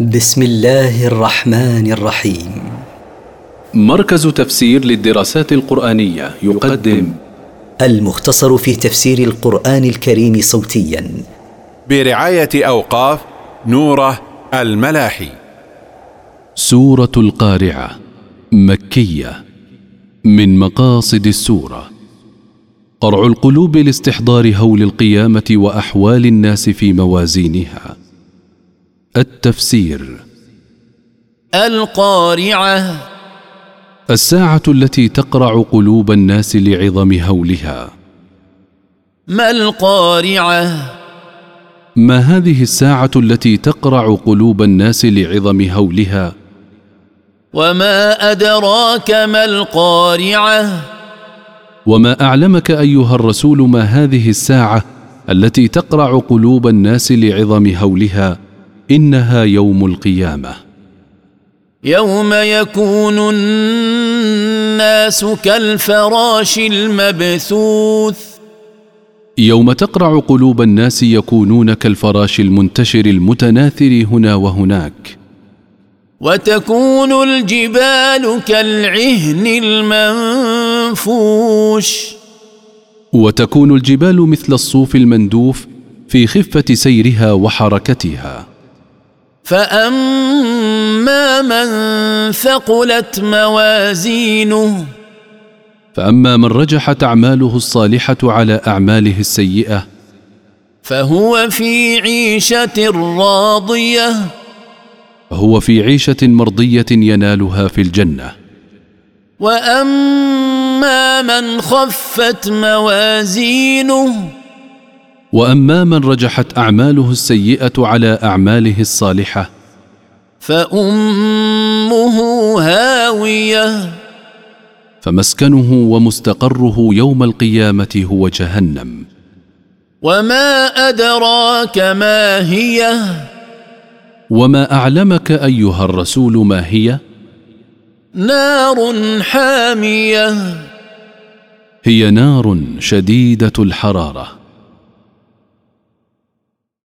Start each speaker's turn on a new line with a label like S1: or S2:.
S1: بسم الله الرحمن الرحيم
S2: مركز تفسير للدراسات القرآنية يقدم
S1: المختصر في تفسير القرآن الكريم صوتيا
S3: برعاية أوقاف نوره الملاحي
S2: سورة القارعة مكية من مقاصد السورة قرع القلوب لاستحضار هول القيامة وأحوال الناس في موازينها التفسير
S4: القارعة
S2: الساعة التي تقرع قلوب الناس لعظم هولها
S4: ما القارعة
S2: ما هذه الساعة التي تقرع قلوب الناس لعظم هولها
S4: وما أدراك ما القارعة
S2: وما أعلمك أيها الرسول ما هذه الساعة التي تقرع قلوب الناس لعظم هولها إنها يوم القيامة
S4: يوم يكون الناس كالفراش المبثوث
S2: يوم تقرع قلوب الناس يكونون كالفراش المنتشر المتناثر هنا وهناك
S4: وتكون الجبال كالعهن المنفوش
S2: وتكون الجبال مثل الصوف المندوف في خفة سيرها وحركتها
S4: فأما من ثقلت موازينه
S2: فأما من رجحت أعماله الصالحة على أعماله السيئة
S4: فهو في عيشة راضية
S2: فهو في عيشة مرضية ينالها في الجنة
S4: وأما من خفت موازينه
S2: وأما من رجحت أعماله السيئة على أعماله الصالحة
S4: فأمه هاوية
S2: فمسكنه ومستقره يوم القيامة هو جهنم
S4: وما أدراك ما هي
S2: وما أعلمك أيها الرسول ما هي
S4: نار حامية
S2: هي نار شديدة الحرارة